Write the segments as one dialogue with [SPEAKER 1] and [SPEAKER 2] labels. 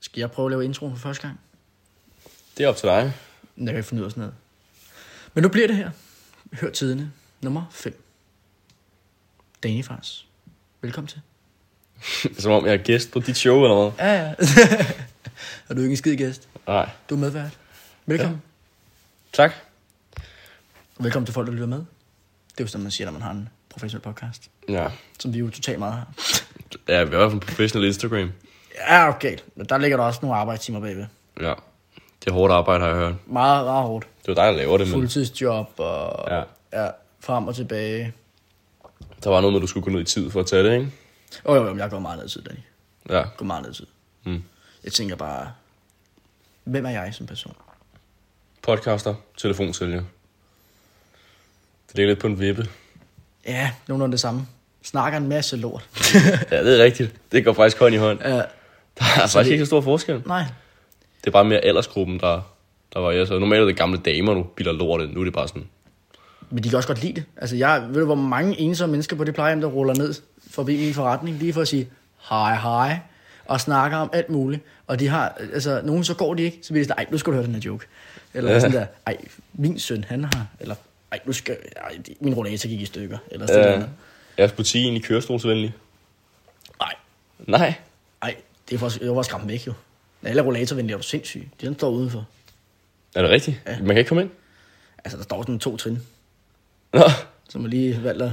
[SPEAKER 1] Skal jeg prøve at lave introen for første gang?
[SPEAKER 2] Det er op til dig.
[SPEAKER 1] Jeg kan ikke finde ud af sådan noget. Men nu bliver det her. Hør tiderne. Nummer 5. Danny Fars. Velkommen til.
[SPEAKER 2] Som om jeg er gæst på dit show eller hvad.
[SPEAKER 1] Ja, ja. og du er ikke en skid gæst.
[SPEAKER 2] Nej.
[SPEAKER 1] Du er medvært. Velkommen.
[SPEAKER 2] Tak.
[SPEAKER 1] Ja. Velkommen til folk, der lytter med. Det er jo sådan, man siger, når man har en professionel podcast.
[SPEAKER 2] Ja.
[SPEAKER 1] Som vi jo totalt meget har.
[SPEAKER 2] Ja, vi er i hvert fald en professionel Instagram.
[SPEAKER 1] Ja, okay. Men der ligger der også nogle arbejdstimer bagved.
[SPEAKER 2] Ja. Det er hårdt arbejde, har jeg hørt.
[SPEAKER 1] Meget, meget hårdt.
[SPEAKER 2] Det var dig, der laver det, men
[SPEAKER 1] Fuldtidsjob og
[SPEAKER 2] Ja.
[SPEAKER 1] ja, frem og tilbage.
[SPEAKER 2] der var noget med, at du skulle gå ned i tid for at tage det, ikke?
[SPEAKER 1] Åh, oh, jo, jo, men jeg går meget ned i tid, Danny.
[SPEAKER 2] Ja.
[SPEAKER 1] går meget ned i tid.
[SPEAKER 2] Mm.
[SPEAKER 1] Jeg tænker bare, hvem er jeg som person?
[SPEAKER 2] Podcaster, telefonsælger. Det ligger lidt på en vippe.
[SPEAKER 1] Ja, nogenlunde det samme. Snakker en masse lort.
[SPEAKER 2] Ja, det er rigtigt. Det går faktisk hånd i hånd.
[SPEAKER 1] uh,
[SPEAKER 2] Der er faktisk ikke så stor forskel.
[SPEAKER 1] nej,
[SPEAKER 2] Det er bare mere aldersgruppen, der, der var jeg. Så normalt er det gamle damer, du biler lortet. Nu er det bare sådan,
[SPEAKER 1] men de kan også godt lide det. Altså, jeg ved du, hvor mange ensomme mennesker på det plejehjem, der ruller ned forbi min forretning, lige for at sige hej, hej, og snakker om alt muligt. Og de har, altså, nogen så går de ikke, så bliver de sådan, ej, nu skal du høre den her joke. Eller
[SPEAKER 2] Ja.
[SPEAKER 1] sådan der, ej, min søn, han har, eller ej, nu skal, ej, de- min rollator gik i stykker, eller sådan
[SPEAKER 2] Øh,
[SPEAKER 1] noget.
[SPEAKER 2] er Spoti egentlig kørestolsvenlig?
[SPEAKER 1] Nej,
[SPEAKER 2] Nej.
[SPEAKER 1] ej, det var, det var skræmt væk jo. Alle rollatorvenlige er du sindssyg. De den står udenfor.
[SPEAKER 2] Er det rigtigt? Ja. Man kan ikke komme ind?
[SPEAKER 1] Altså, der står sådan to trin,
[SPEAKER 2] Nå,
[SPEAKER 1] som er lige valgt at...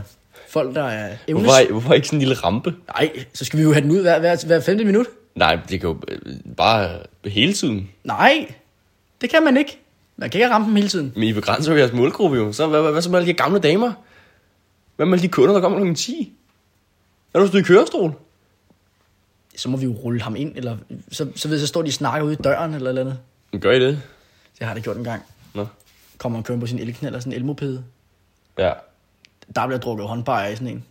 [SPEAKER 1] Folk, der er evnes...
[SPEAKER 2] hvorfor, hvorfor ikke sådan en lille rampe?
[SPEAKER 1] Nej, så skal vi jo have den ud hver, hver, hver femte minut.
[SPEAKER 2] Nej, det kan jo øh, bare øh, hele tiden.
[SPEAKER 1] Nej, det kan man ikke. Man kan ikke ramme dem hele tiden.
[SPEAKER 2] Men I begrænser jo jeres målgruppe jo. Så hvad, hvad, hvad så med alle de her gamle damer? Hvad med alle de kunder, der kommer kl. 10? Er du stået i kørestol?
[SPEAKER 1] Så må vi jo rulle ham ind, eller så, så, ved, jeg, så står de og snakker ude i døren eller et eller andet.
[SPEAKER 2] Men Gør I det?
[SPEAKER 1] Det har det gjort en gang.
[SPEAKER 2] Nå.
[SPEAKER 1] Kommer og kører på sin elknæld eller sådan en elmopede.
[SPEAKER 2] Ja,
[SPEAKER 1] Der bliver drukket håndbajer i sådan en.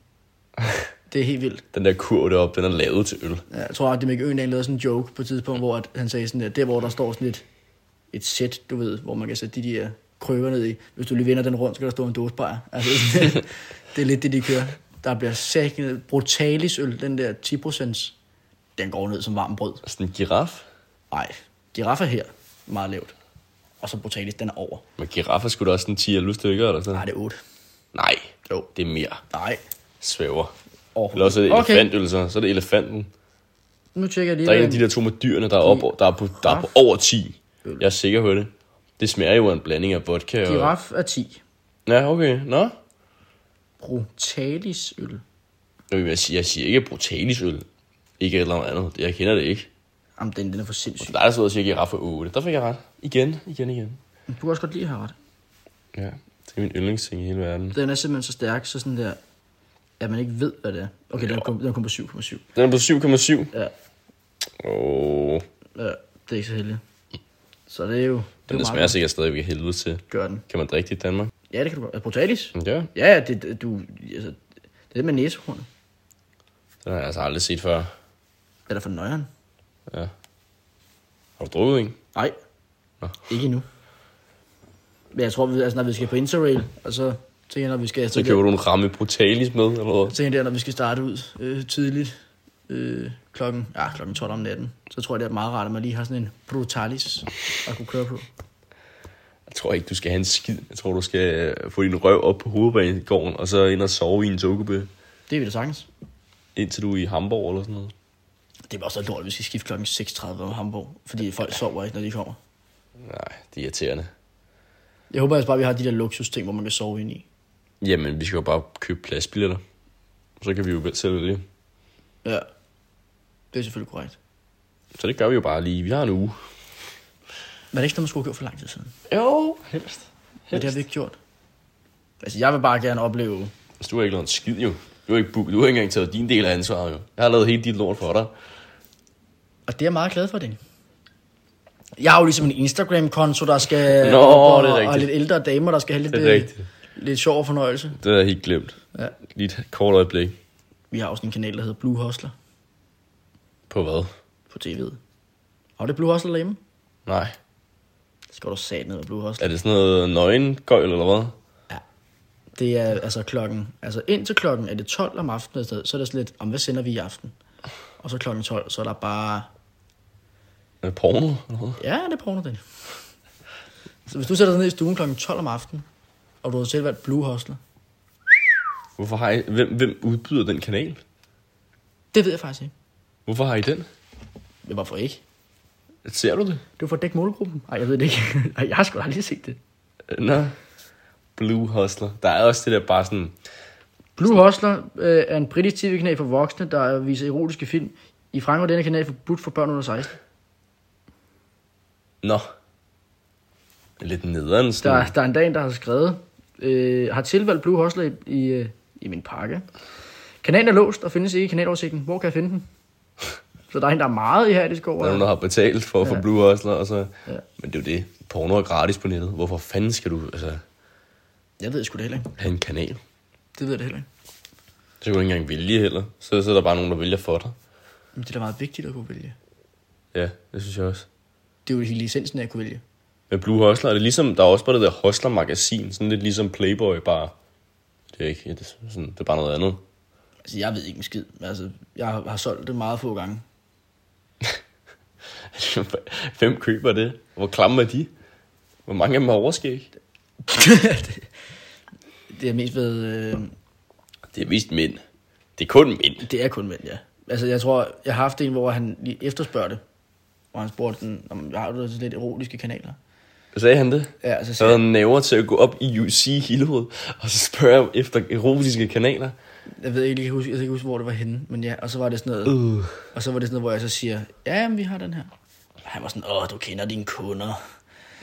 [SPEAKER 1] Det er helt vildt.
[SPEAKER 2] den der kurv deroppe, den er lavet til øl.
[SPEAKER 1] Ja, Jeg tror, at det Mikke Øgendal lavede sådan en joke på et tidspunkt, hvor at han sagde sådan, at der, hvor der står sådan et, et sæt, du ved, hvor man kan sætte de der krøver ned i. Hvis du lige vender den rundt, skal der stå en dåsebajer. Altså, det er lidt det, de kører. Der bliver sækket brutalisøl, den der 10 den går ned som varm brød.
[SPEAKER 2] Sådan en giraf.
[SPEAKER 1] Nej, giraffer her, meget lavt. Og så brutalis, den er over.
[SPEAKER 2] Men giraffer skulle da også sådan 10 eller stykker eller sådan
[SPEAKER 1] Nej,
[SPEAKER 2] noget.
[SPEAKER 1] det er 8.
[SPEAKER 2] Nej,
[SPEAKER 1] Jo.
[SPEAKER 2] det er mere.
[SPEAKER 1] Nej,
[SPEAKER 2] Svæver.
[SPEAKER 1] overhovedet.
[SPEAKER 2] Eller også er det
[SPEAKER 1] Okay.
[SPEAKER 2] elefantøl, så. så er det elefanten.
[SPEAKER 1] Nu tjekker jeg lige.
[SPEAKER 2] Der er en af
[SPEAKER 1] hvad-
[SPEAKER 2] de der to med dyrene, der er, op, der er, på, der er på over 10. Jeg er sikker på det. Det smager jo af en blanding af vodka og...
[SPEAKER 1] Giraf er 10.
[SPEAKER 2] Ja, okay. Nå.
[SPEAKER 1] Brutalisøl.
[SPEAKER 2] Jeg, jeg, siger, jeg siger ikke brutalisøl. Ikke et eller andet. Jeg kender det ikke.
[SPEAKER 1] Jamen, den, den er for sindssyg.
[SPEAKER 2] Der er der så og siger giraffe 8. Der fik jeg ret. Igen, igen, igen.
[SPEAKER 1] Du kan også godt lide at have ret.
[SPEAKER 2] Ja, det er min yndlingsting i hele verden.
[SPEAKER 1] Den er simpelthen så stærk, så sådan der, at man ikke ved, hvad det er. Okay, den kom, den kom på 7,7.
[SPEAKER 2] Den er på 7,7.
[SPEAKER 1] Ja,
[SPEAKER 2] Åh,
[SPEAKER 1] ja, det er ikke så heldigt. Så det er jo... Det er
[SPEAKER 2] den
[SPEAKER 1] jo
[SPEAKER 2] der smager
[SPEAKER 1] meget,
[SPEAKER 2] sikkert stadigvæk af helvede til.
[SPEAKER 1] gør den.
[SPEAKER 2] Kan man drikke det i Danmark?
[SPEAKER 1] Ja, det kan du godt. Er Brutalis?
[SPEAKER 2] Mm, Ja,
[SPEAKER 1] Ja, ja, det, det- du, altså, det er det med næsehornet.
[SPEAKER 2] den har jeg altså aldrig set før.
[SPEAKER 1] Eller for nøjeren.
[SPEAKER 2] Ja. Har du drukket en?
[SPEAKER 1] Nej,
[SPEAKER 2] Nå.
[SPEAKER 1] ikke endnu. Men jeg tror, vi, altså, når vi skal på Interrail, og så tænker jeg, når vi skal...
[SPEAKER 2] Så køber du en ramme brutalis med, eller hvad?
[SPEAKER 1] tænker jeg, der, når vi skal starte ud øh, tidligt, øh, klokken, ja, klokken 12 om natten, så tror jeg, det er meget rart, at man lige har sådan en brutalis at kunne køre på.
[SPEAKER 2] Jeg tror ikke, du skal have en skid. Jeg tror, du skal øh, få din røv op på hovedbanegården, og så ind og sove i en togebe,
[SPEAKER 1] Det vil jeg sagtens.
[SPEAKER 2] indtil du er i Hamburg eller sådan noget.
[SPEAKER 1] Det bliver også lort, at vi skal skifte klokken 6.30 om Hamburg, fordi folk sover ikke, når de kommer.
[SPEAKER 2] Nej, det er irriterende.
[SPEAKER 1] Jeg håber altså bare, at vi har de der luksus ting, hvor man kan sove ind i.
[SPEAKER 2] Jamen, vi skal jo bare købe pladsbilletter. Så kan vi jo selv vælge.
[SPEAKER 1] Ja. Det er selvfølgelig korrekt.
[SPEAKER 2] Så det gør vi jo bare lige. Vi har en uge.
[SPEAKER 1] Men det er ikke sådan, man skulle have gjort for lang tid siden.
[SPEAKER 2] Jo, helst.
[SPEAKER 1] Men det har vi ikke gjort. Altså, jeg vil bare gerne opleve...
[SPEAKER 2] Altså, du har ikke lavet en skid, jo. Du har ikke, bu- du har ikke engang taget din del af ansvaret, jo. Jeg har lavet hele dit lort for dig.
[SPEAKER 1] Og det er jeg meget glad for, Denny. Jeg har jo ligesom en Instagram-konto, der skal...
[SPEAKER 2] Nå,
[SPEAKER 1] og,
[SPEAKER 2] det er rigtigt.
[SPEAKER 1] Og lidt ældre damer, der skal have lidt,
[SPEAKER 2] Det er
[SPEAKER 1] øh,
[SPEAKER 2] rigtigt.
[SPEAKER 1] lidt sjov og fornøjelse.
[SPEAKER 2] Det er helt glemt.
[SPEAKER 1] Ja.
[SPEAKER 2] Lige et kort øjeblik.
[SPEAKER 1] Vi har også en kanal, der hedder Blue Hustler
[SPEAKER 2] På hvad?
[SPEAKER 1] på tv'et. Har det Blue Hustler derhjemme?
[SPEAKER 2] Nej.
[SPEAKER 1] Så skal du sat ned og Blue Hustler.
[SPEAKER 2] Er det sådan noget nøgengøjl, eller hvad?
[SPEAKER 1] Ja. Det er altså klokken, altså indtil klokken er det 12 om aftenen et sted, så er det sådan lidt, om hvad sender vi i aften? Og så klokken 12, så er der bare
[SPEAKER 2] Øh, porno eller noget.
[SPEAKER 1] Ja, det er porno, den. Så hvis du sætter dig ned i stuen kl. 12 om aftenen, og du har selv valgt Blue Hustler,
[SPEAKER 2] Hvorfor har I, hvem, hvem udbyder den kanal?
[SPEAKER 1] det ved jeg faktisk ikke.
[SPEAKER 2] Hvorfor har I den?
[SPEAKER 1] Men hvorfor ikke?
[SPEAKER 2] Ser du det?
[SPEAKER 1] Det var for at dække målgruppen. Nej, jeg ved det ikke. Ej, jeg har sgu aldrig set det.
[SPEAKER 2] Øh, Nå. Blue Hustler. Der er også det der bare sådan...
[SPEAKER 1] Blue Hustler øh, er en britisk tv-kanal for voksne, der viser erotiske film. I Frankrig er denne kanal forbudt for børn under 16.
[SPEAKER 2] Nå. Lidt nederen
[SPEAKER 1] Der,
[SPEAKER 2] sådan.
[SPEAKER 1] der er en dag, der har skrevet, øh, har tilvalgt Blue Hustler i, i, øh, i min pakke. Kanalen er låst og findes ikke i kanaloversigten. Hvor kan jeg finde den? Så der er en, der er meget i her, det skal
[SPEAKER 2] Der er nogen,
[SPEAKER 1] over.
[SPEAKER 2] der har betalt for at få
[SPEAKER 1] Ja.
[SPEAKER 2] Blue Hustler, og så...
[SPEAKER 1] Ja.
[SPEAKER 2] Men det er jo det. Porno er gratis på nettet. Hvorfor fanden skal du altså,
[SPEAKER 1] Jeg ved sgu det heller ikke.
[SPEAKER 2] have en kanal?
[SPEAKER 1] Det ved jeg det heller ikke.
[SPEAKER 2] Så kan du ikke engang vælge heller. Så, så er der bare nogen, der vælger for dig.
[SPEAKER 1] Men det er da meget vigtigt at kunne vælge.
[SPEAKER 2] Ja, det synes jeg også.
[SPEAKER 1] Det er jo hele essensen af at kunne vælge.
[SPEAKER 2] Med Blue Hustler er det ligesom, der er også bare det der Hustler magasin, sådan lidt ligesom Playboy, bare, det er ikke, det er, sådan, det er bare noget andet.
[SPEAKER 1] Altså, jeg ved ikke en skid. men Altså, jeg har, har solgt det meget få gange.
[SPEAKER 2] Hvem køber det? Hvor klamme er de? Hvor mange af dem har overskæg?
[SPEAKER 1] det, det er mest ved... Øh,
[SPEAKER 2] Det er vist mænd. Det er kun mænd.
[SPEAKER 1] Det er kun mænd, ja. Altså, jeg tror, jeg har haft en, hvor han lige efterspørger det. Hvor han spurgte den, om har du sådan lidt erotiske kanaler?
[SPEAKER 2] Sagde han det?
[SPEAKER 1] Ja, så
[SPEAKER 2] Så
[SPEAKER 1] sagde,
[SPEAKER 2] havde han næver til at gå op i UC Hillerød, og så spørger jeg efter erotiske kanaler.
[SPEAKER 1] jeg ved ikke, lige- jeg kan huske, jeg kan ikke huske, hvor det var henne, men ja, og så var det sådan noget,
[SPEAKER 2] Uh.
[SPEAKER 1] og så var det sådan noget, hvor jeg så siger, ja, men vi har den her. Og han var sådan, åh, du kender dine kunder.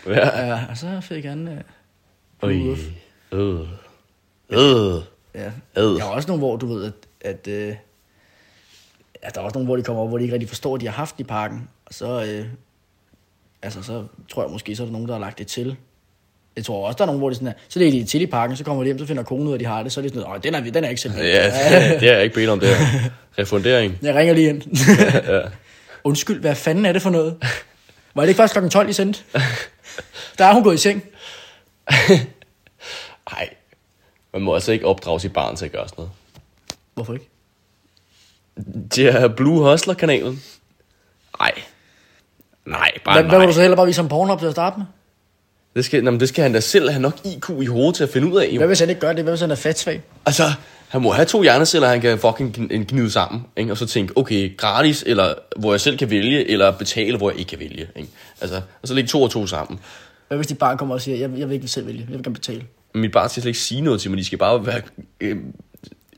[SPEAKER 2] Ja.
[SPEAKER 1] Ja, og så fik han, øh,
[SPEAKER 2] Øj.
[SPEAKER 1] Uff.
[SPEAKER 2] Øh. Øh.
[SPEAKER 1] ja.
[SPEAKER 2] Ad.
[SPEAKER 1] Der er også nogle, hvor du ved, at, at øh, ja, der er også nogle, hvor de kommer op, hvor de ikke rigtig forstår, at de har haft den i parken. Og så, øh, altså, så tror jeg måske, så er der nogen, der har lagt det til. Jeg tror også, der er nogen, hvor det sådan er, så lægger de det til i parken, så kommer de hjem, så finder konen ud, at de har det, så er det sådan noget, "Åh, den er, vi- den er ikke selv.
[SPEAKER 2] Ja, det har jeg ikke bedt om det her. Refundering.
[SPEAKER 1] Jeg ringer lige ind. Undskyld, hvad fanden er det for noget? Var det ikke først kl. 12, I sendte? Der er hun gået i seng.
[SPEAKER 2] Nej. Man må altså ikke opdrage sit barn til at gøre sådan noget.
[SPEAKER 1] Hvorfor ikke?
[SPEAKER 2] Det er Blue Hustler-kanalen. Nej. Nej, bare
[SPEAKER 1] Hvad,
[SPEAKER 2] nej.
[SPEAKER 1] hvad vil du så heller bare vise ham porno op til at starte med?
[SPEAKER 2] Det skal, jamen, det skal han da selv have nok IQ i hovedet til at finde ud af.
[SPEAKER 1] Hvad
[SPEAKER 2] Jo.
[SPEAKER 1] hvis han ikke gør det? Hvad hvis han er fatsvag?
[SPEAKER 2] Altså, han må have to hjerneceller, han kan fucking gn- gnide sammen. Ikke? Og så tænke, okay, gratis, eller hvor jeg selv kan vælge, eller betale, hvor jeg ikke kan vælge. Ikke? Altså, og så lægge to og to sammen.
[SPEAKER 1] Hvad hvis dit barn kommer og siger, jeg, jeg vil ikke selv vælge, jeg vil gerne betale?
[SPEAKER 2] Men Mit barn skal slet ikke sige noget til mig, de skal bare være øh,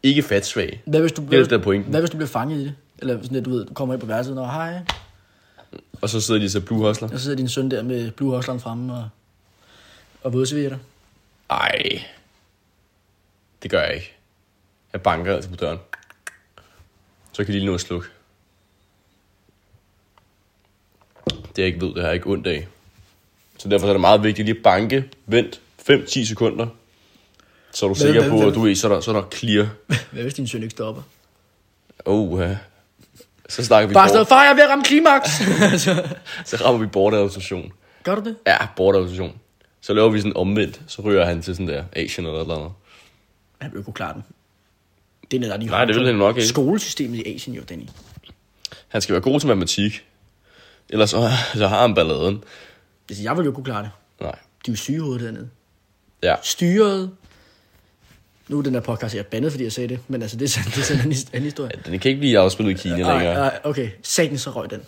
[SPEAKER 2] ikke fatsvage.
[SPEAKER 1] Hvad hvis du
[SPEAKER 2] er det, der er pointen.
[SPEAKER 1] Hvad hvis du bliver fanget i det? Eller sådan, at du ved, du kommer ind på værelset og hej,
[SPEAKER 2] Og så sidder de så Blue Hustler.
[SPEAKER 1] og så sidder din søn der med Blue Hustleren fremme og, og vådservietter.
[SPEAKER 2] Ej. Det gør jeg ikke. Jeg banker altså på døren. Så kan de lige nå at slukke. Det jeg ikke ved, det har jeg ikke ondt af. Så derfor er det meget vigtigt lige at banke. Vent 5-10 sekunder. Så er du
[SPEAKER 1] Hvad-
[SPEAKER 2] sikker
[SPEAKER 1] hvad-
[SPEAKER 2] på,
[SPEAKER 1] hvad-
[SPEAKER 2] at du er, så er der, så er der clear.
[SPEAKER 1] Hvad hvis din søn ikke stopper?
[SPEAKER 2] Oh, uh. Så snakker vi
[SPEAKER 1] Bare stå,
[SPEAKER 2] bort.
[SPEAKER 1] far, jeg er ved at ramme klimaks!
[SPEAKER 2] Så rammer vi bortadoption.
[SPEAKER 1] Gør du det?
[SPEAKER 2] Ja, bortadoption. Så laver vi sådan omvendt. Så ryger han til sådan der Asien eller et eller andet.
[SPEAKER 1] Han vil ikke kunne klare den. Det er noget, der er de
[SPEAKER 2] Nej, det vil han nok ikke.
[SPEAKER 1] Skolesystemet i Asien jo, Danny.
[SPEAKER 2] Han skal være god til matematik. Ellers så, så har han balladen.
[SPEAKER 1] Altså, jeg vil jo kunne klare det.
[SPEAKER 2] Nej.
[SPEAKER 1] De er jo syge i hovedet dernede.
[SPEAKER 2] Ja.
[SPEAKER 1] Styret. Nu er den der podcast, jeg er bandet, fordi jeg sagde det, men altså, det er sådan, det er sådan en his- anden historie.
[SPEAKER 2] Den kan ikke blive afspillet i Kina længere.
[SPEAKER 1] Ej, ej, okay, sagen så røg den.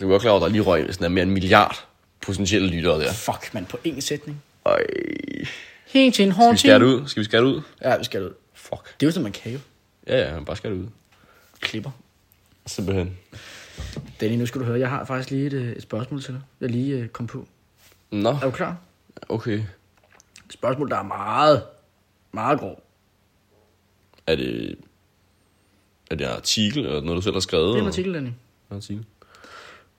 [SPEAKER 2] Du er godt klar over, at der lige røg sådan der mere end en milliard potentielle lyttere der.
[SPEAKER 1] Fuck, man, på én sætning.
[SPEAKER 2] Øj.
[SPEAKER 1] Helt til en
[SPEAKER 2] Skal
[SPEAKER 1] hård
[SPEAKER 2] vi skære det ud? Skal vi skære det ud?
[SPEAKER 1] Ja, vi skal ud.
[SPEAKER 2] Fuck.
[SPEAKER 1] Det er jo sådan, man kan jo.
[SPEAKER 2] Ja, ja, bare skære det ud.
[SPEAKER 1] Klipper.
[SPEAKER 2] Simpelthen.
[SPEAKER 1] Danny, nu skal du høre, jeg har faktisk lige et, øh, et spørgsmål til dig. Jeg lige øh, kom på.
[SPEAKER 2] Nå,
[SPEAKER 1] Er du klar?
[SPEAKER 2] okay.
[SPEAKER 1] Et spørgsmål, der er meget, meget grov.
[SPEAKER 2] Er det... Er det en artikel, eller noget, du selv har skrevet?
[SPEAKER 1] Det er en
[SPEAKER 2] eller?
[SPEAKER 1] artikel, Danny.
[SPEAKER 2] En artikel.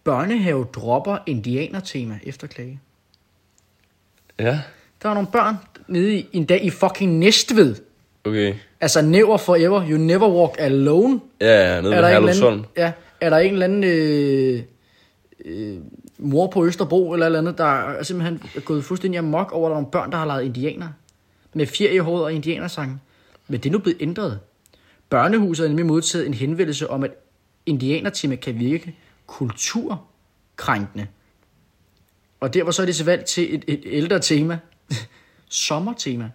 [SPEAKER 1] Børnehave dropper indianertema efter klage.
[SPEAKER 2] Ja,
[SPEAKER 1] Der var nogle børn nede i, en dag i fucking Næstved.
[SPEAKER 2] okay.
[SPEAKER 1] Altså never forever, you never walk alone.
[SPEAKER 2] Ja, ja, nede ved
[SPEAKER 1] en eller
[SPEAKER 2] Herlufsholm.
[SPEAKER 1] anden, ja, er der en eller anden øh, øh, mor på Østerbro eller et eller andet, der er simpelthen er gået fuldstændig amok over, at der er nogle børn, der har lavet indianer. Med fjer i håret og indianersange. Men det er nu blevet ændret. Børnehuset har nemlig modtaget en henvendelse om, at indianertema kan virke kulturkrænkende krænkende. Og derfor så er det så valgt til et, et ældre tema. Sommertema.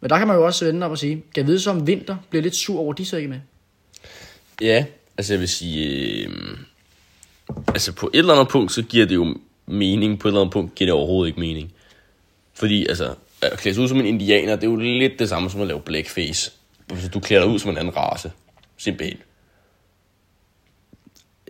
[SPEAKER 1] Men der kan man jo også vende op og sige, kan jeg vide så om vinter bliver lidt sur over, de så ikke er med.
[SPEAKER 2] Ja, altså jeg vil sige, øh, altså på et eller andet punkt, så giver det jo mening, på et eller andet punkt giver det overhovedet ikke mening. Fordi altså, at klæde sig ud som en indianer, det er jo lidt det samme som at lave blackface. Altså, du klæder dig ud som en anden race, simpelthen.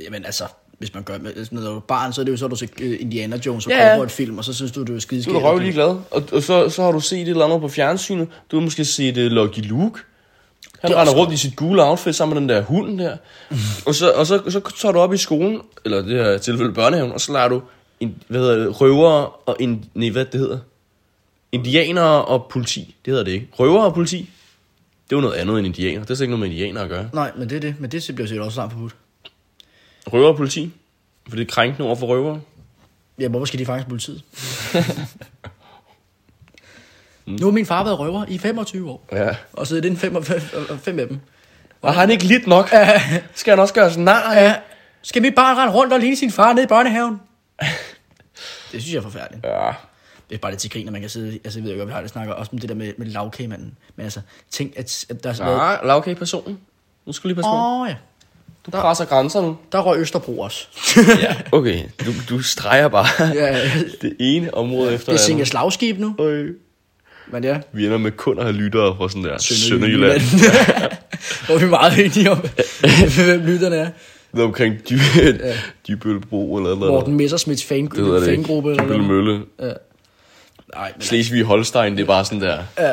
[SPEAKER 1] Jamen altså, hvis man gør med sådan noget barn, så er det jo så, at du ser øh, Indiana Jones og
[SPEAKER 2] Ja, ja.
[SPEAKER 1] yeah. et film, og så synes du, det er skideskægt.
[SPEAKER 2] Du er røv glad. Og, og så, så har du set et eller andet på fjernsynet. Du har måske set uh, Lucky Luke. Han
[SPEAKER 1] Det er
[SPEAKER 2] render
[SPEAKER 1] også
[SPEAKER 2] rundt i sit gule outfit sammen med den der hund der. og så, og så, så tager du op i skolen, eller det her tilfælde børnehaven, og så lader du en, hvad hedder det, røvere og en, nej, hvad det hedder? Indianere og politi. Det hedder det ikke. Røvere og politi. Det er jo noget andet end indianer. Det er slet ikke noget med indianer at gøre.
[SPEAKER 1] Nej, men det er det. Men det bliver sikkert også snart forbudt.
[SPEAKER 2] Røvere og politi. For det er krænkende over for røvere.
[SPEAKER 1] Ja, hvorfor skal de faktisk politiet? nu har min far været røver i 25 år.
[SPEAKER 2] Ja.
[SPEAKER 1] Og så er det en fem, og fem, og fem af dem.
[SPEAKER 2] Og har han ikke lidt nok? Skal han også gøre sådan nar af?
[SPEAKER 1] Ja, skal mit barn rende rundt og ligne sin far nede i børnehaven? det synes jeg er forfærdeligt.
[SPEAKER 2] Ja.
[SPEAKER 1] Det er bare lidt til grin, at man kan sidde... Altså, jeg ved jo godt, vi har det snakker også om det der med, med lavkagemanden. Men altså, tænk, at, at der er sådan noget...
[SPEAKER 2] Nej, lavkage personen. Nu skal du lige passe på.
[SPEAKER 1] Åh, oh, ja.
[SPEAKER 2] Du presser grænser nu.
[SPEAKER 1] Der røg Østerbro også.
[SPEAKER 2] ja, okay. Du, du streger bare
[SPEAKER 1] Ja, ja.
[SPEAKER 2] det ene område efter
[SPEAKER 1] Det er
[SPEAKER 2] det
[SPEAKER 1] Singer
[SPEAKER 2] andet.
[SPEAKER 1] Slagskib nu.
[SPEAKER 2] Øj.
[SPEAKER 1] Men ja,
[SPEAKER 2] Vi ender med kun at have lyttere fra sådan der Sønderjylland.
[SPEAKER 1] Hvor er vi meget enige om, hvem lytterne er.
[SPEAKER 2] Det er omkring Dy- Dybølbro eller eller
[SPEAKER 1] Morten
[SPEAKER 2] andet.
[SPEAKER 1] Messersmiths fan,
[SPEAKER 2] Det hedder det ikke.
[SPEAKER 1] fangruppe. eller noget.
[SPEAKER 2] Dybølmølle.
[SPEAKER 1] Nej, men
[SPEAKER 2] Slesvig Holstein, det er bare sådan der.
[SPEAKER 1] ja.
[SPEAKER 2] Det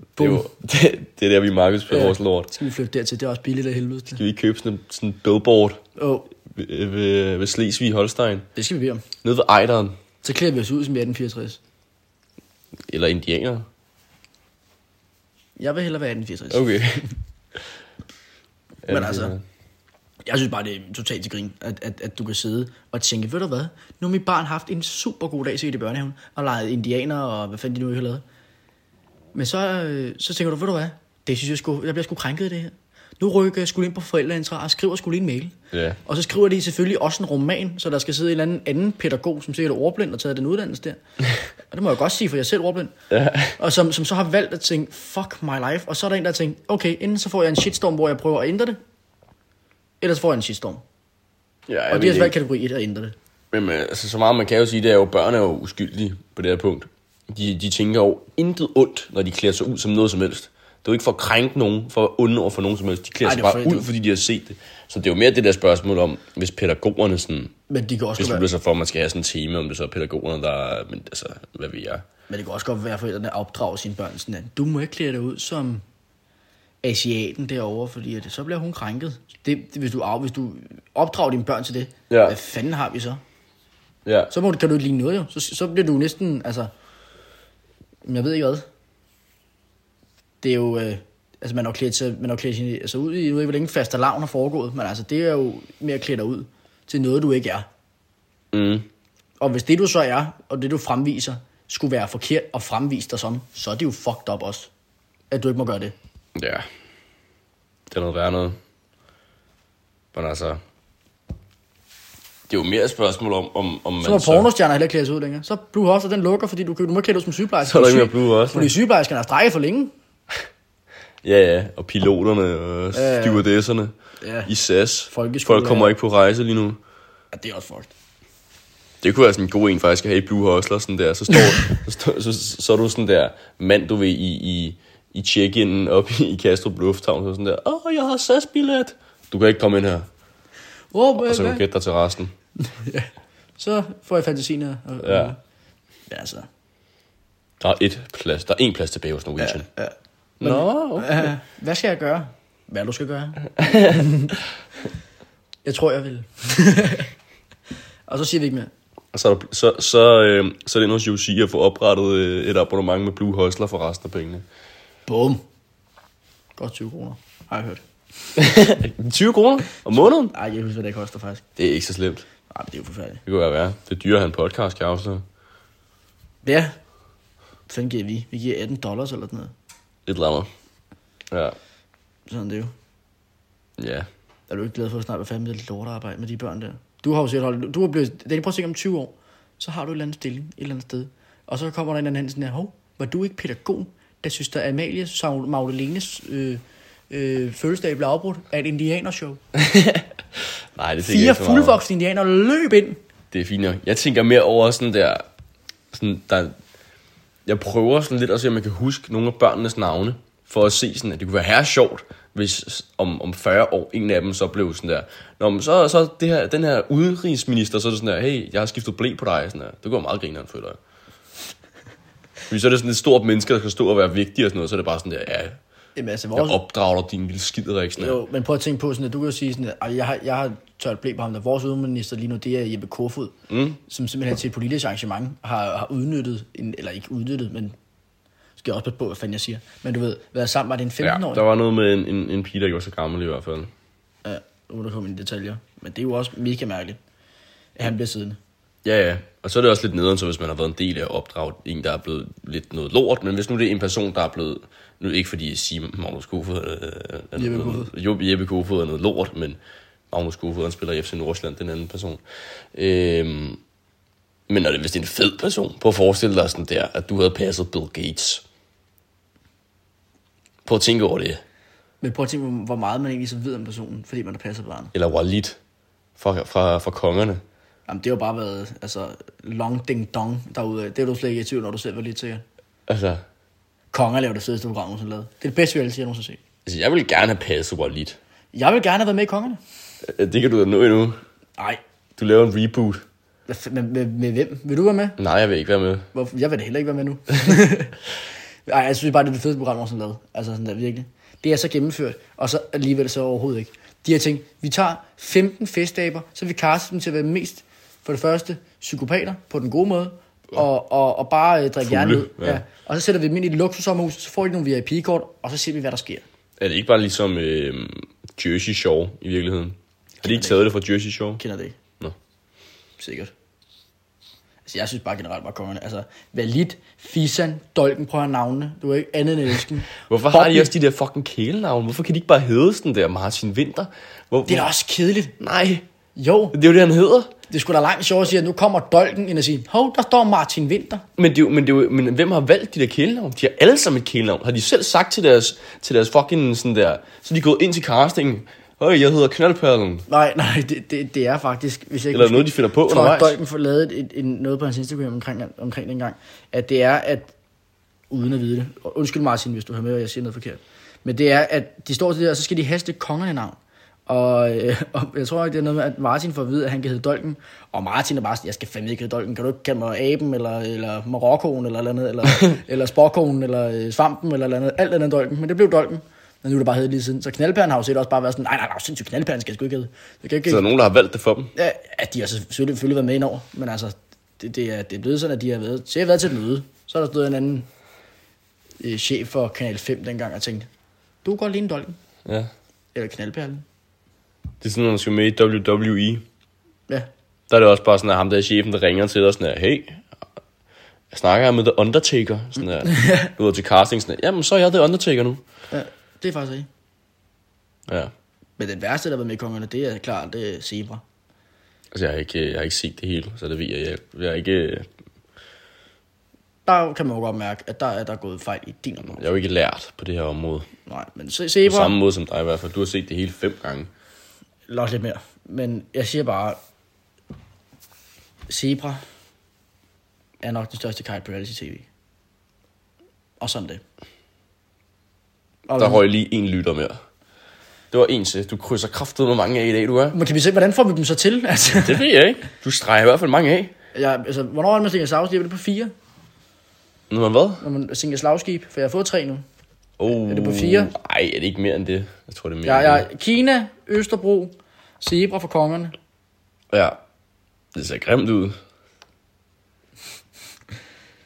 [SPEAKER 2] er,
[SPEAKER 1] Bum.
[SPEAKER 2] jo, det, det er der, vi markedsfører
[SPEAKER 1] Ja.
[SPEAKER 2] vores lort.
[SPEAKER 1] Så skal vi flytte dertil. Det er også billigt af helvede.
[SPEAKER 2] Skal vi ikke købe sådan, en- sådan en billboard
[SPEAKER 1] Åh, oh,
[SPEAKER 2] ved, ved, ved Slesvig Holstein?
[SPEAKER 1] det skal vi bede om.
[SPEAKER 2] Nede ved Ejderen.
[SPEAKER 1] Så klæder vi os ud som i 1864.
[SPEAKER 2] Eller indianer.
[SPEAKER 1] Jeg vil hellere være 1864.
[SPEAKER 2] Okay.
[SPEAKER 1] Men altså- Jeg synes bare, det er totalt til grin, at, at, at du kan sidde og tænke, ved du hvad, nu har mit barn haft en super god dag sikkert i børnehaven, og leget indianer, og hvad fanden de nu ikke har lavet. Men så, øh, så tænker du, ved du hvad, det synes jeg sgu, jeg bliver sgu krænket af det her. Nu rykker jeg skulle ind på forældreintra og skriver skulle en mail.
[SPEAKER 2] Ja.
[SPEAKER 1] Og så skriver de selvfølgelig også en roman, så der skal sidde en eller anden, anden pædagog, som sikkert er ordblind og taget den uddannelse der. og det må jeg godt sige, for jeg er selv ordblind.
[SPEAKER 2] Ja.
[SPEAKER 1] Og som, som så har valgt at tænke, fuck my life. Og så er der en, der har tænkt, okay, enten så får jeg en shitstorm, hvor jeg prøver at ændre det, ellers får jeg en shitstorm.
[SPEAKER 2] Ja, jeg
[SPEAKER 1] Og de har
[SPEAKER 2] ved
[SPEAKER 1] så
[SPEAKER 2] ikke.
[SPEAKER 1] valgt kategori 1 at ændre det.
[SPEAKER 2] Men øh, altså, så meget man kan jo sige, det er jo, børn er jo uskyldige på det her punkt. De, de tænker jo intet ondt, når de klæder sig ud som noget som helst. Det er jo ikke for at krænke nogen, for at onde over for nogen som helst. De klæder
[SPEAKER 1] Ej,
[SPEAKER 2] sig
[SPEAKER 1] det er
[SPEAKER 2] bare
[SPEAKER 1] for-
[SPEAKER 2] ud, fordi de har set det. Så det er jo mere det der spørgsmål om, hvis pædagogerne sådan,
[SPEAKER 1] Men de kan også godt
[SPEAKER 2] beslutter
[SPEAKER 1] være,
[SPEAKER 2] sig for, at man skal have sådan et tema, om det så er pædagogerne, der men altså, hvad ved jeg.
[SPEAKER 1] men det kan også godt være, at forældrene opdrager sine børn sådan, at du må ikke klæde dig ud som asiaten derovre, fordi at, så bliver hun krænket. Det, det, hvis, du, af- hvis du opdrager dine børn til det,
[SPEAKER 2] Ja.
[SPEAKER 1] ja. hvad fanden har vi så?
[SPEAKER 2] Ja.
[SPEAKER 1] Så må, du- kan du ikke ligne noget jo. Så, så bliver du næsten, altså... Jamen, Jeg ved ikke hvad. Det er jo... Øh, altså, man har jo klædt sig, man har jo klædt sig altså, ud i... Jeg ved ikke, hvor længe faste lavn har foregået, men altså, det er jo mere at klæde dig ud til noget, du ikke er.
[SPEAKER 2] Mm.
[SPEAKER 1] Og hvis det, du så er, og det, du fremviser, skulle være forkert og fremvise dig som, så er det jo fucked up også, at du ikke må gøre det.
[SPEAKER 2] Ja. Det er noget værre noget. Men altså... Det er jo mere et spørgsmål om, om, om man
[SPEAKER 1] Så må pornostjerner heller ikke klæde sig ud længere. Så Blue Hoster, den lukker, fordi du, kan- du må ikke klæde dig ud som sygeplejerske.
[SPEAKER 2] Så er der ikke
[SPEAKER 1] Fordi
[SPEAKER 2] mere Blue Hoster.
[SPEAKER 1] Fordi sygeplejerskerne har strækket for længe.
[SPEAKER 2] Ja, ja, og piloterne og
[SPEAKER 1] Ja, ja.
[SPEAKER 2] stewardesserne
[SPEAKER 1] Ja.
[SPEAKER 2] i SAS.
[SPEAKER 1] Folkeskoler.
[SPEAKER 2] Folk kommer ikke på rejse lige nu.
[SPEAKER 1] Ja, det er også fucked.
[SPEAKER 2] Det kunne være sådan en god en faktisk at have i Blue Hustler, sådan der. Så, står, så, står, så, så, så er du sådan der mand, du ved, i, i, i check-in op i, i Kastrup Lufthavn, så sådan der, åh, jeg har SAS-billet. Du kan ikke komme ind her,
[SPEAKER 1] Oh,
[SPEAKER 2] og så kan du gætte dig til resten.
[SPEAKER 1] så får jeg fantasien her. Og,
[SPEAKER 2] Ja.
[SPEAKER 1] og- Ja, altså.
[SPEAKER 2] Der er et plads, der er en plads tilbage hos Norwegian.
[SPEAKER 1] ja.
[SPEAKER 2] Nå, okay.
[SPEAKER 1] Uh, hvad skal jeg gøre? Hvad du skal gøre? jeg tror, jeg vil. og så siger vi ikke mere.
[SPEAKER 2] Og så, er der, så, så, øh, så er det inde hos UC at få oprettet øh, et abonnement med Blue Hustler for resten af pengene.
[SPEAKER 1] Bum. Godt 20 kroner, har jeg hørt.
[SPEAKER 2] 20 kroner om måneden?
[SPEAKER 1] Ej, jeg husker, hvad det koster faktisk.
[SPEAKER 2] Det er ikke så slemt.
[SPEAKER 1] Ej, men det er jo forfærdeligt.
[SPEAKER 2] Det kunne være værre. Det er dyrere at have en podcast, kan jeg afsløre. Et
[SPEAKER 1] Ja. Hvad fanden giver vi? Vi giver 18 dollars eller sådan noget.
[SPEAKER 2] eller andet. Ja.
[SPEAKER 1] Sådan er det jo.
[SPEAKER 2] Ja.
[SPEAKER 1] Er du ikke glad for at snart være færdig med det lortearbejde med de børn der? Du har jo selv holdt, du har blevet, det er prøv at tænke om 20 år, så har du et eller andet stilling, et eller andet sted. Og så kommer der en eller anden sådan her, hov, var du ikke pædagog, der synes, der Amalie Saul- Maglelenes øh, øh, fødselsdag blev afbrudt af et indianershow.
[SPEAKER 2] Nej, det tænker
[SPEAKER 1] Fire
[SPEAKER 2] jeg ikke så meget over.
[SPEAKER 1] fuldvoksne indianere løb ind.
[SPEAKER 2] Det er fint nok. Jeg tænker mere over sådan der... Sådan der jeg prøver sådan lidt at se, om jeg kan huske nogle af børnenes navne, for at se sådan, at det kunne være her sjovt, hvis om, om 40 år en af dem så blev sådan der, Nå, men så, så det her, den her udenrigsminister, så er det sådan der, hey, jeg har skiftet blæ på dig, sådan der. Det går meget grineren, føler jeg. Fordi så er det sådan et stort menneske, der skal stå og være vigtig og sådan noget, så er det bare sådan der, ja,
[SPEAKER 1] Jamen altså,
[SPEAKER 2] jeg
[SPEAKER 1] vores,
[SPEAKER 2] opdrager dig, din lille skiderik, sådan der.
[SPEAKER 1] jo, men prøv at tænke på sådan, at du kan jo sige sådan, at "Ej, jeg har, jeg har tørt blæ på ham, der vores udenminister lige nu, det er Jeppe Kofod, mm. som simpelthen til et politisk arrangement har, har udnyttet, en, eller ikke udnyttet, men skal jeg også passe på, hvad fanden jeg siger, men du ved, været sammen med en 15-årig.
[SPEAKER 2] Ja, der var noget med en, en, en pige, der ikke var så gammel i hvert fald.
[SPEAKER 1] Ja, nu må du komme ind i detaljer. Men det er jo også mega mærkeligt, at han bliver siddende.
[SPEAKER 2] Ja, ja. Og så er det også lidt nederen, så hvis man har været en del af opdraget en, der er blevet lidt noget lort. Men hvis nu det er en person, der er blevet... Nu ikke fordi Simon Magnus Kofod er, er- er
[SPEAKER 1] Jeppe
[SPEAKER 2] noget, jo, Jeppe Kofod er noget lort, men Magnus Kofod, han spiller i FC Nordsjælland, den anden person. Øhm, men når det, hvis det er en fed person, prøv at forestille dig sådan der, at du havde passet Bill Gates. Prøv at tænke over det.
[SPEAKER 1] Men prøv at tænke, hvor- hvor meget man egentlig så ved om personen, fordi man har passet barnet.
[SPEAKER 2] Eller Walid fra, fra, fra kongerne.
[SPEAKER 1] Jamen, det har jo bare været altså, long ding dong derude. Det er du slet ikke i tvivl, når du selv var lidt sikker.
[SPEAKER 2] Altså,
[SPEAKER 1] Konger laver det fedeste program, hun har lavet. Det er det bedste, vi altid har nogensinde set.
[SPEAKER 2] altså, jeg ville gerne have passet Walid.
[SPEAKER 1] Jeg vil gerne have været med i Kongerne.
[SPEAKER 2] Øh, Det kan du da nå endnu.
[SPEAKER 1] Nej.
[SPEAKER 2] Du laver en reboot.
[SPEAKER 1] Med, med, med, hvem? Vil du være med?
[SPEAKER 2] Nej, jeg vil ikke være med.
[SPEAKER 1] Hvorfor? Jeg vil da heller ikke være med nu. Ej, jeg synes bare, det er det fedeste program, jeg har lavet. Altså sådan der, virkelig. Det er så gennemført, og så alligevel så overhovedet ikke. De har tænkt, vi tager 15 festaber, så vi kaster dem til at være mest, for det første, psykopater på den gode måde, og, og, og bare øh, drikke
[SPEAKER 2] Fugle,
[SPEAKER 1] hjernen ud.
[SPEAKER 2] ja.
[SPEAKER 1] Og så sætter vi dem ind i et luksussommerhus, så får de nogle VIP-kort, og så ser vi, hvad der sker.
[SPEAKER 2] Er det ikke bare ligesom øh, Jersey Shore i virkeligheden? Har de ikke taget det fra Jersey Shore?
[SPEAKER 1] Kender det ikke?
[SPEAKER 2] Nå.
[SPEAKER 1] Sikkert. Altså, jeg synes bare generelt bare kongerne. Altså, Valit, Fisan, Dolken, prøv at høre navnene. Du er ikke andet end elsken.
[SPEAKER 2] Hvorfor har
[SPEAKER 1] Bobby,
[SPEAKER 2] de også de der fucking kælenavne? Hvorfor kan de ikke bare hedde sådan der Martin Winter? Hvor,
[SPEAKER 1] Det er da også kedeligt.
[SPEAKER 2] Nej,
[SPEAKER 1] Jo,
[SPEAKER 2] det er jo det, han hedder.
[SPEAKER 1] det skulle da langt sjovere at sige, at nu kommer dolken ind og sige, hov, der står Martin Winter.
[SPEAKER 2] Men, det er jo, men, det er jo, men hvem har valgt de der kælenavne? De har alle sammen et kælenavn. Har de selv sagt til deres, til deres fucking sådan der... Så er de gået ind til casting. Høj, jeg hedder Knaldperlen.
[SPEAKER 1] Nej, nej, det, det, det er faktisk... Hvis jeg ikke
[SPEAKER 2] Eller
[SPEAKER 1] husker-
[SPEAKER 2] noget, de finder på
[SPEAKER 1] Jeg tror, at
[SPEAKER 2] undervejs.
[SPEAKER 1] Dolken får lavet et, et, noget på hans Instagram omkring, omkring dengang, at det er, at... Uden at vide det. og Undskyld Martin, hvis du hører med, og jeg siger noget forkert. Men det er, at de står til det, og så skal de haste kongerne navn. Og, øh, og jeg tror ikke, det er noget med, at Martin får at vide, at han kan hedde Dolken. Og Martin er bare sådan, jeg skal fandme ikke hedde Dolken. Kan du ikke kalde mig aben, eller, eller Marokkoen, eller et eller andet, eller, eller sporkonen, eller øh, svampen, eller et eller andet. Alt andet end Dolken, men det blev Dolken. Men nu er det bare heddet lige siden. Så knaldpæren har jo set også bare været sådan, nej, nej, nej, sindssygt knaldpæren skal jeg sgu ikke hedde. Det kan ikke,
[SPEAKER 2] Så er der nogen, der har valgt det for dem.
[SPEAKER 1] Ja, at de har selvfølgelig selvfølgelig været med indover, men altså, det, det, er, det er blevet sådan, at de har været, så jeg har været til et møde, så er der stået en anden øh, chef for Kanal 5 dengang og tænkt, du kan godt ligne Dolken,
[SPEAKER 2] Ja.
[SPEAKER 1] eller Knaldperlen.
[SPEAKER 2] Det er sådan, når man skal med i WWE.
[SPEAKER 1] Ja,
[SPEAKER 2] Der er det også bare sådan, at ham der chefen, der ringer til dig sådan her, hey, jeg snakker her med The Undertaker, sådan her, du ved, til casting, sådan her, jamen så er jeg The Undertaker nu.
[SPEAKER 1] ja, det er faktisk ikke.
[SPEAKER 2] Ja,
[SPEAKER 1] Men den værste, der har været med i kongerne, det er klart, det er Zebra.
[SPEAKER 2] altså jeg har ikke, jeg har ikke set det hele, så det ved jeg, jeg, jeg er ikke,
[SPEAKER 1] Der kan man jo godt mærke, at der er der gået fejl i din område.
[SPEAKER 2] jeg er jo ikke lært på det her område.
[SPEAKER 1] Nej, men
[SPEAKER 2] På
[SPEAKER 1] Zebra,
[SPEAKER 2] samme måde som dig i hvert fald, du har set det hele fem gange.
[SPEAKER 1] nok lidt mere. Men jeg siger bare, Zebra er nok den største kite på reality-tv. Og sådan det. Og
[SPEAKER 2] Der røg lige en lytter mere. Det var en til, du krydser kraftet med mange af i dag, du er.
[SPEAKER 1] Men kan vi se, hvordan får vi dem så til? Altså,
[SPEAKER 2] Det ved jeg ikke. Du streger i hvert fald mange af.
[SPEAKER 1] jeg, altså hvornår er man Stinger Slagskib? Er det på fire?
[SPEAKER 2] Nu man hvad?
[SPEAKER 1] Når man Stinger Slagskib? For jeg har fået tre nu.
[SPEAKER 2] Oh,
[SPEAKER 1] Er det på fire?
[SPEAKER 2] Nej, er det ikke mere end det? Jeg tror, det er mere
[SPEAKER 1] Jeg,
[SPEAKER 2] end det.
[SPEAKER 1] jeg, Kina, Østerbro, Zebra for kongerne.
[SPEAKER 2] Ja. Det ser grimt ud.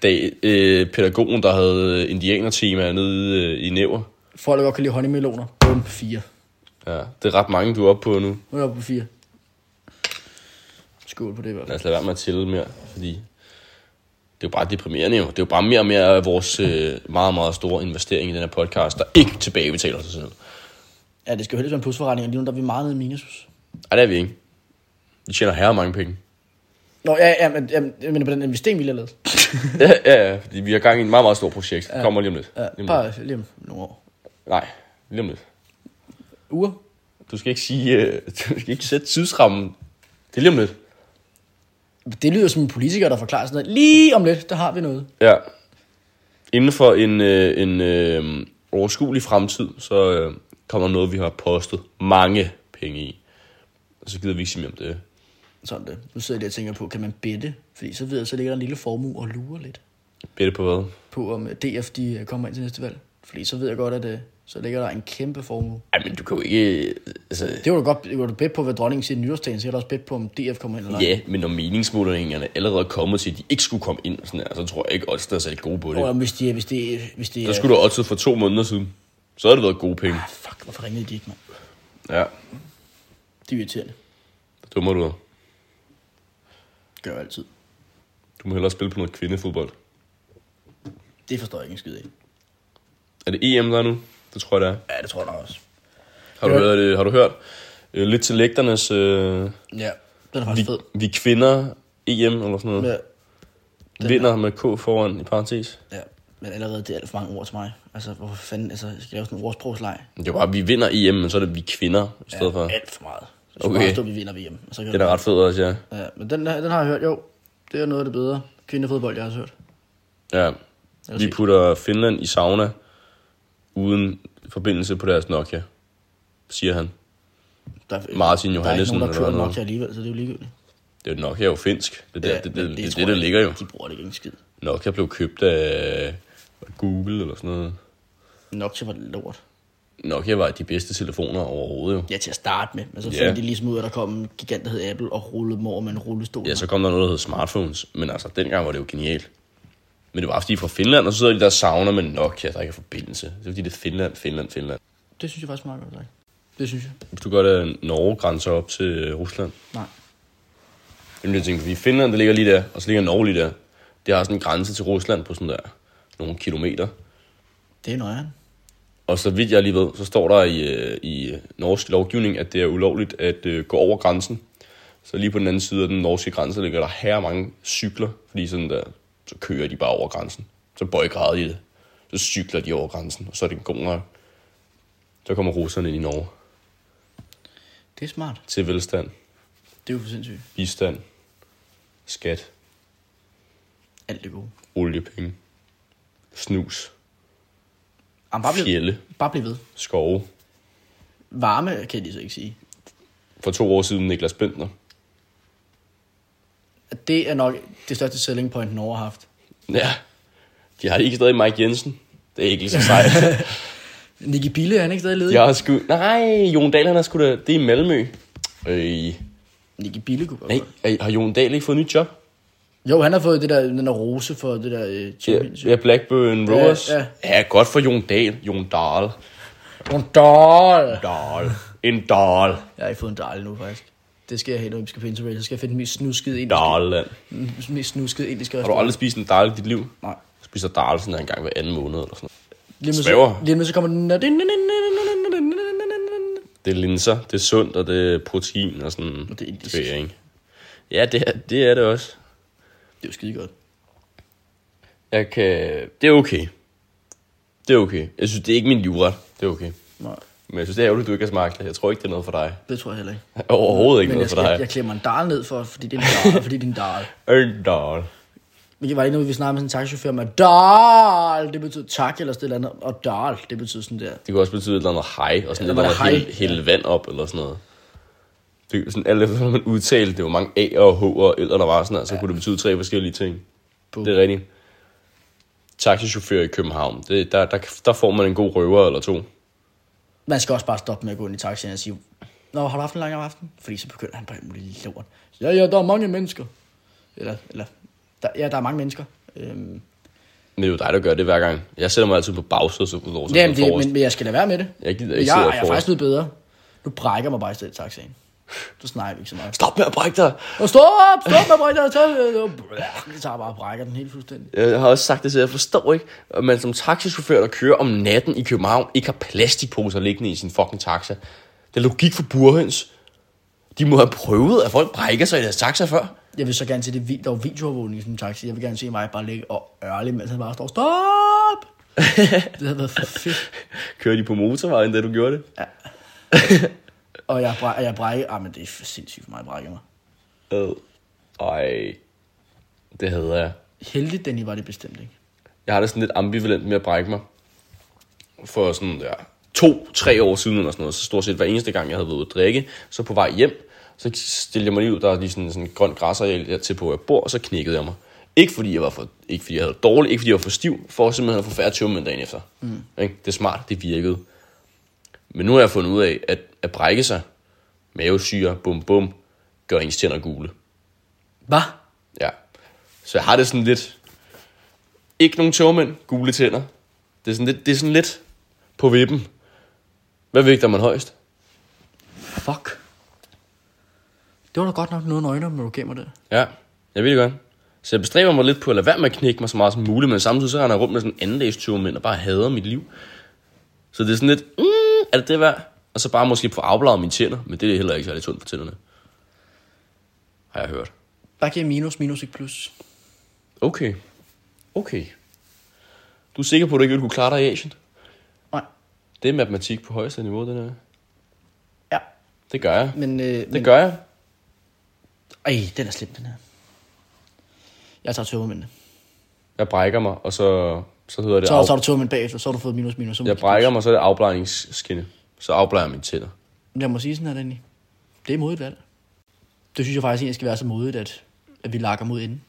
[SPEAKER 2] Da øh, pædagogen, der havde indianertema nede øh, i Næver.
[SPEAKER 1] Folk, der godt kan lide honeymeloner. Bum, på fire.
[SPEAKER 2] Ja, det er ret mange, du er oppe på nu.
[SPEAKER 1] Nu er jeg oppe på fire. Skål på det i hvert
[SPEAKER 2] Lad
[SPEAKER 1] fald.
[SPEAKER 2] os lade være med at tælle mere, fordi det er jo bare deprimerende jo. Det er jo bare mere og mere af vores øh, meget, meget store investering i den her podcast, der ikke tilbagebetaler sig selv.
[SPEAKER 1] Ja, det skal jo helst være en plusforretning, og lige nu der er vi meget nede i minus.
[SPEAKER 2] Nej, det er vi ikke. De tjener herre mange penge.
[SPEAKER 1] Nå, ja, ja, men, ja, men jeg mener på den investering, vi lige har lavet.
[SPEAKER 2] ja, ja, ja, fordi vi har gang i en meget, meget stor projekt. Ja. Kommer lige om lidt. lige om
[SPEAKER 1] Ja,
[SPEAKER 2] lidt.
[SPEAKER 1] bare lige om nogle år.
[SPEAKER 2] Nej, lige om lidt.
[SPEAKER 1] Uger?
[SPEAKER 2] Du skal ikke sige, øh, du skal ikke sætte tidsrammen. Det er lige om lidt.
[SPEAKER 1] Det lyder som en politiker, der forklarer sådan noget. Lige om lidt, der har vi noget.
[SPEAKER 2] Ja. Inden for en, øh, en øh, overskuelig fremtid, så øh, kommer noget, vi har postet mange penge i. Og så gider vi ikke sige mere om det.
[SPEAKER 1] Sådan det. Nu sidder jeg lige og tænker på, kan man bette? Fordi så ved jeg, så ligger der en lille formue og lurer lidt
[SPEAKER 2] Bedre på hvad?
[SPEAKER 1] på, om øh, DF de øh, kommer ind til næste valg. Fordi så ved jeg godt, at øh, så ligger der en kæmpe formue.
[SPEAKER 2] Ej, men du kan jo ikke... øh, Altså,
[SPEAKER 1] Det var du godt, det var du bedt på, hvad dronningen siger i nyårstagen, så er du også bedt på, om DF kommer ind eller ej.
[SPEAKER 2] ja, men når meningsmålingerne allerede er kommet til, at de ikke skulle komme ind, og sådan her, så tror jeg ikke, at der er særlig gode på det.
[SPEAKER 1] Og hvis de, øh, hvis de, hvis de,
[SPEAKER 2] Der skulle du også for to måneder siden. Så havde det været gode penge.
[SPEAKER 1] Ah, fuck, hvorfor ringede de ikke, mand?
[SPEAKER 2] Ja,
[SPEAKER 1] Det er irriterende.
[SPEAKER 2] det dummer du er.
[SPEAKER 1] Gør jeg altid.
[SPEAKER 2] Du må hellere spille på noget kvindefodbold.
[SPEAKER 1] Det forstår jeg ikke en skid af.
[SPEAKER 2] Er det EM, der er nu? Det tror jeg, det er.
[SPEAKER 1] Ja, det tror jeg nok også.
[SPEAKER 2] Har du,
[SPEAKER 1] Ja.
[SPEAKER 2] hørt, øh, har du hørt? Øh, lidt til lægternes... Øh,
[SPEAKER 1] Ja, den er
[SPEAKER 2] vi,
[SPEAKER 1] faktisk fed.
[SPEAKER 2] vi kvinder EM eller sådan noget.
[SPEAKER 1] Ja, den
[SPEAKER 2] Vinder med K foran i parentes.
[SPEAKER 1] ja. Men allerede, det er alt for mange ord til mig. Altså, hvorfor fanden, altså, jeg skal lave sådan en ordsprogsleg?
[SPEAKER 2] Det er bare, vi vinder EM, men så er det vi kvinder i stedet for.
[SPEAKER 1] Alt for meget. Så skal
[SPEAKER 2] Okay.
[SPEAKER 1] okay. bare stå, vi vinder VM. Og så kan
[SPEAKER 2] Det er da ret fedt også, ja.
[SPEAKER 1] Ja, men den, den har jeg hørt, jo. Det er noget af det bedre kvindefodbold, jeg har hørt.
[SPEAKER 2] ja.
[SPEAKER 1] vil
[SPEAKER 2] Vi
[SPEAKER 1] se.
[SPEAKER 2] putter Finland i sauna uden forbindelse på deres Nokia, siger han.
[SPEAKER 1] Der er,
[SPEAKER 2] Martin
[SPEAKER 1] der er ikke
[SPEAKER 2] Johannesen
[SPEAKER 1] nogen, der
[SPEAKER 2] eller
[SPEAKER 1] kører
[SPEAKER 2] noget.
[SPEAKER 1] Nokia alligevel, så det er jo ligegyldigt.
[SPEAKER 2] Det er jo Nokia er jo finsk. Det er der, ja, det, det,
[SPEAKER 1] men
[SPEAKER 2] det, det,
[SPEAKER 1] tror
[SPEAKER 2] det, der
[SPEAKER 1] jeg
[SPEAKER 2] ligger jo.
[SPEAKER 1] ikke. De bruger det ikke en skid.
[SPEAKER 2] Nokia blev købt af Google eller sådan noget.
[SPEAKER 1] Nokia var det lort.
[SPEAKER 2] Nokia var de bedste telefoner overhovedet jo.
[SPEAKER 1] Ja, til at starte med, men så
[SPEAKER 2] Ja.
[SPEAKER 1] yeah. fandt de ligesom ud af, at der kom en gigant, der hed Apple, og rullede dem over med en rullestol.
[SPEAKER 2] Ja, så kom der noget, der hed smartphones. Men altså, dengang var det jo genialt. Men det var fordi, de er fra Finland, og så sidder de der og savner med Nokia, der ikke er forbindelse. Det er fordi, det er Finland, Finland, Finland.
[SPEAKER 1] Det synes jeg faktisk er meget godt, tak. Det synes jeg.
[SPEAKER 2] Hvis du godt, at Norge grænser op til øh, Rusland.
[SPEAKER 1] Nej.
[SPEAKER 2] Jamen, jeg tænker, fordi Finland, der ligger lige der, og så ligger Norge lige der. Det har sådan en grænse til Rusland på sådan der nogle kilometer.
[SPEAKER 1] Det er nøjeren.
[SPEAKER 2] Og så vidt jeg lige ved, så står der i, øh, i øh, norsk lovgivning, at det er ulovligt at øh, gå over grænsen. Så lige på den anden side af den norske grænse ligger der her mange cykler, fordi sådan der, så kører de bare over grænsen. Så bøjgrader de det. Så cykler de over grænsen, og så er det en god nok. Så kommer russerne ind i Norge
[SPEAKER 1] Det er smart.
[SPEAKER 2] til velstand,
[SPEAKER 1] Det er jo for sindssygt.
[SPEAKER 2] bistand, skat,
[SPEAKER 1] Alt det gode.
[SPEAKER 2] oliepenge, snus,
[SPEAKER 1] Jamen, bare, bliv,
[SPEAKER 2] fjelle,
[SPEAKER 1] bare bliv ved.
[SPEAKER 2] skove.
[SPEAKER 1] Varme kan de så ikke sige.
[SPEAKER 2] For to år siden Niklas Bentner.
[SPEAKER 1] At Det er nok det største selling point, Norge har haft.
[SPEAKER 2] Ja, de har ikke stadig Mike Jensen. Det er ikke lige så sejt.
[SPEAKER 1] Nicky Bille, er han ikke stadig ledig?
[SPEAKER 2] Jeg har sgu... Nej, Jon Dahl, han har sgu da... Det er i Malmø. Øh,
[SPEAKER 1] Nicky Bille kunne godt
[SPEAKER 2] nej,
[SPEAKER 1] være.
[SPEAKER 2] øh, har Jon Dahl ikke fået nyt job?
[SPEAKER 1] Jo, han har fået det der, den der rose for det der uh,
[SPEAKER 2] Ja,
[SPEAKER 1] championship.
[SPEAKER 2] ja Blackburn Rovers. Ja,
[SPEAKER 1] ja.
[SPEAKER 2] ja. godt for Jon Dahl. Jon Dahl.
[SPEAKER 1] En doll.
[SPEAKER 2] Dahl. En Dahl.
[SPEAKER 1] Jeg har ikke fået en doll nu, faktisk. Det skal jeg have, når vi skal på interrail. Så skal jeg finde den mest snuskede indiske.
[SPEAKER 2] Dahlland.
[SPEAKER 1] Den mest snuskede indiske
[SPEAKER 2] Har du
[SPEAKER 1] restaurant.
[SPEAKER 2] aldrig spist en Dahl i dit liv?
[SPEAKER 1] Nej.
[SPEAKER 2] Jeg spiser Dahl sådan en gang hver anden måned eller sådan noget.
[SPEAKER 1] Lige med, så,
[SPEAKER 2] Svæver.
[SPEAKER 1] lige med så kommer den...
[SPEAKER 2] Det er linser, det er sundt, og det er protein og sådan...
[SPEAKER 1] Og det er indisk.
[SPEAKER 2] ved jeg ikke. Ja, det er, det er det også.
[SPEAKER 1] Det er jo skide godt.
[SPEAKER 2] Jeg kan... Det er okay. Det er okay. Jeg synes, det er ikke min livret. Det er okay.
[SPEAKER 1] Nej,
[SPEAKER 2] Men jeg synes, det er ærgerligt, du ikke har smagt det. Jeg tror ikke, det er noget for dig.
[SPEAKER 1] det tror jeg heller ikke.
[SPEAKER 2] Overhovedet ikke
[SPEAKER 1] Men jeg,
[SPEAKER 2] noget for
[SPEAKER 1] skal, jeg,
[SPEAKER 2] dig.
[SPEAKER 1] jeg klemmer en dal ned for, fordi det er en dal, fordi det er en dal.
[SPEAKER 2] En dal.
[SPEAKER 1] Men det var ikke noget, vi snakkede med sådan en taxichauffør med, dal, det betyder tak eller sådan et eller andet, og dal, det betyder sådan der.
[SPEAKER 2] Det kan også betyde et eller andet hej, og sådan
[SPEAKER 1] Ja,
[SPEAKER 2] et eller andet
[SPEAKER 1] hej.
[SPEAKER 2] hælde, hælde vand op, eller sådan noget. Det er jo sådan, alt efter, hvordan man udtalte, det var mange A'er og H'er og eller der var sådan her, så kunne det betyde tre forskellige ting.
[SPEAKER 1] Boom.
[SPEAKER 2] Det er rigtigt. Taxichauffør i København, det, der, der, der får man en god røver eller to.
[SPEAKER 1] Man skal også bare stoppe med at gå ind i taxien og sige, Nå, har du haft en lang aften? Fordi så begynder han på en mulig lort. Ja, ja, der er mange mennesker. Eller, eller der, ja, der er mange mennesker. Øhm,
[SPEAKER 2] Men det er jo dig, der gør det hver gang. Jeg sætter mig altid på bagsædet, så ud over sådan
[SPEAKER 1] jamen,
[SPEAKER 2] noget
[SPEAKER 1] det,
[SPEAKER 2] forrest.
[SPEAKER 1] men, men, jeg skal lade være med det.
[SPEAKER 2] Jeg gider
[SPEAKER 1] Men
[SPEAKER 2] ikke sidde
[SPEAKER 1] jeg,
[SPEAKER 2] og
[SPEAKER 1] jeg er
[SPEAKER 2] forrest.
[SPEAKER 1] faktisk blevet bedre. Nu brækker jeg mig bare i stedet i taxien. Så snakker vi ikke så meget.
[SPEAKER 2] Stop med at brække dig!
[SPEAKER 1] Og stop, stop med brækker, så jeg tager bare og brækker den helt fuldstændig.
[SPEAKER 2] Øh, Jeg har også sagt det, så jeg forstår ikke, at man som taxichauffør, der kører om natten i København, ikke har plastikposer liggende i sin fucking taxa. Det er logik for burhøns. De må have prøvet, at folk brækker sig i deres taxa før.
[SPEAKER 1] Jeg vil så gerne se det, vi- der var videoovervågning i sådan en taxi. Jeg vil gerne se mig bare ligge og ørle, mens han bare står, stop! det havde været for fedt.
[SPEAKER 2] Kører de på motorvejen, da du gjorde det?
[SPEAKER 1] Og jeg, bræ- og jeg brækker, ah, men det er for sindssygt for mig, jeg brækker mig.
[SPEAKER 2] Øh. Ej. Det hader jeg.
[SPEAKER 1] Heldigt, Danny, var det bestemt ikke.
[SPEAKER 2] Jeg har det sådan lidt ambivalent med at brække mig. For sådan der to-tre år siden eller sådan noget, så stort set hver eneste gang, jeg havde været ude at drikke, så på vej hjem, så stillede jeg mig lige ud, der er lige sådan sådan en grøn græsareal der til på, hvor jeg bor, og så knækkede jeg mig. Ikke fordi jeg var for, ikke fordi jeg havde det dårligt, ikke fordi jeg var for stiv, for simpelthen at få færre tømmermænd dagen efter. Mm. Det er smart, det virkede. Men nu har jeg fundet ud af, at at brække sig, mavesyre, bum bum, gør ens tænder gule.
[SPEAKER 1] Hvad?
[SPEAKER 2] Ja. Så jeg har det sådan lidt... Ikke nogen tørmænd, gule tænder. Det er sådan lidt, det er sådan lidt på vippen. Hvad vægter man højst?
[SPEAKER 1] Fuck. Det var da godt nok noget nøgner, når du gav mig det.
[SPEAKER 2] Ja, jeg ved det godt. Så jeg bestræber mig lidt på at lade være med at knække mig så meget som muligt, men samtidig så render jeg rundt med sådan en andendags tørmænd og bare hader mit liv. Så det er sådan lidt, mm, er det det værd? Og så bare måske få afbladet mine tænder, men det er heller ikke særlig sundt for tænderne. Har jeg hørt.
[SPEAKER 1] Bare giver minus, minus ikke plus.
[SPEAKER 2] Okay. Okay. Du er sikker på, at du ikke ville kunne klare dig i Asien?
[SPEAKER 1] Nej.
[SPEAKER 2] Det er matematik på højeste niveau, den her.
[SPEAKER 1] Ja,
[SPEAKER 2] Det gør jeg.
[SPEAKER 1] men... Øh, men
[SPEAKER 2] Det gør jeg.
[SPEAKER 1] Ej, den er slem, den her. Jeg tager tømmermændene.
[SPEAKER 2] Jeg brækker mig, og så, så hedder det...
[SPEAKER 1] Så,
[SPEAKER 2] af-
[SPEAKER 1] så har du tømmermænd bagefter, så har du fået minus, minus. Så må
[SPEAKER 2] jeg
[SPEAKER 1] du-
[SPEAKER 2] brækker mig, så er det afblejningsskinne. Så afblejer jeg mine tænder.
[SPEAKER 1] Lad mig sige sådan her, Danny. Det er modigt valg. Det synes jeg faktisk egentlig skal være så modigt, at, at vi lakker mod enden.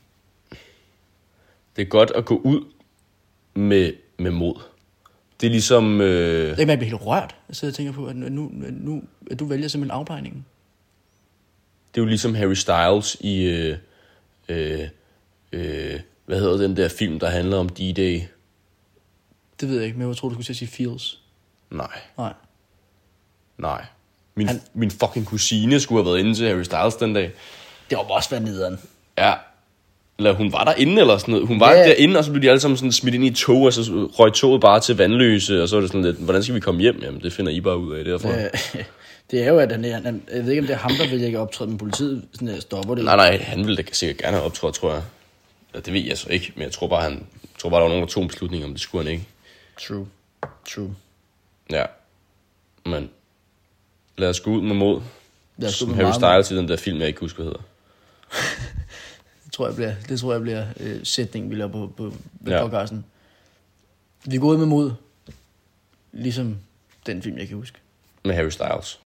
[SPEAKER 2] Det er godt at gå ud med, med mod. Det er ligesom... Øh,
[SPEAKER 1] Det kan man blive helt rørt. Jeg sidder og tænker på, at nu, at nu at du vælger simpelthen afpegningen.
[SPEAKER 2] det er jo ligesom Harry Styles i... Øh, øh, øh, hvad hedder den der film, der handler om D-Day?
[SPEAKER 1] Det ved jeg ikke, men jeg tror, du skulle til at sige feels.
[SPEAKER 2] Nej.
[SPEAKER 1] Nej.
[SPEAKER 2] Nej. Min,
[SPEAKER 1] Han-
[SPEAKER 2] min fucking kusine skulle have været inde til Harry Styles den dag.
[SPEAKER 1] Det var også været nederen.
[SPEAKER 2] Ja. Eller hun var derinde eller sådan noget. Hun var
[SPEAKER 1] Ja,
[SPEAKER 2] ja.
[SPEAKER 1] ja.
[SPEAKER 2] derinde, og så blev de alle sammen sådan smidt ind i et tog, og så røg toget bare til vandløse, og så var det sådan lidt, hvordan skal vi komme hjem? Jamen, det finder I bare ud af derfra. Ja.
[SPEAKER 1] Øh, det er jo, at han, han, han, jeg ved ikke, om det er ham, der vil ikke optræde, men politiet sådan, der stopper det.
[SPEAKER 2] Nej, nej, han ville da sikkert gerne have optrådt, tror jeg. Ja, det ved jeg så ikke, men jeg tror bare, han, jeg tror bare der var nogen, der tog en beslutning, om det skulle han ikke.
[SPEAKER 1] True. True.
[SPEAKER 2] Ja. Men lad os gå ud med mod.
[SPEAKER 1] Lad os gå
[SPEAKER 2] Som
[SPEAKER 1] ud med
[SPEAKER 2] Harry
[SPEAKER 1] meget mod.
[SPEAKER 2] Styles i den der film, jeg ikke husker, hvad hedder.
[SPEAKER 1] Det tror jeg bliver, det tror jeg bliver øh, sætningen, vi laver på, på, på ja.
[SPEAKER 2] Ja.
[SPEAKER 1] podcasten. Vi går ud med mod, ligesom den film, jeg kan huske.
[SPEAKER 2] Med Harry Styles.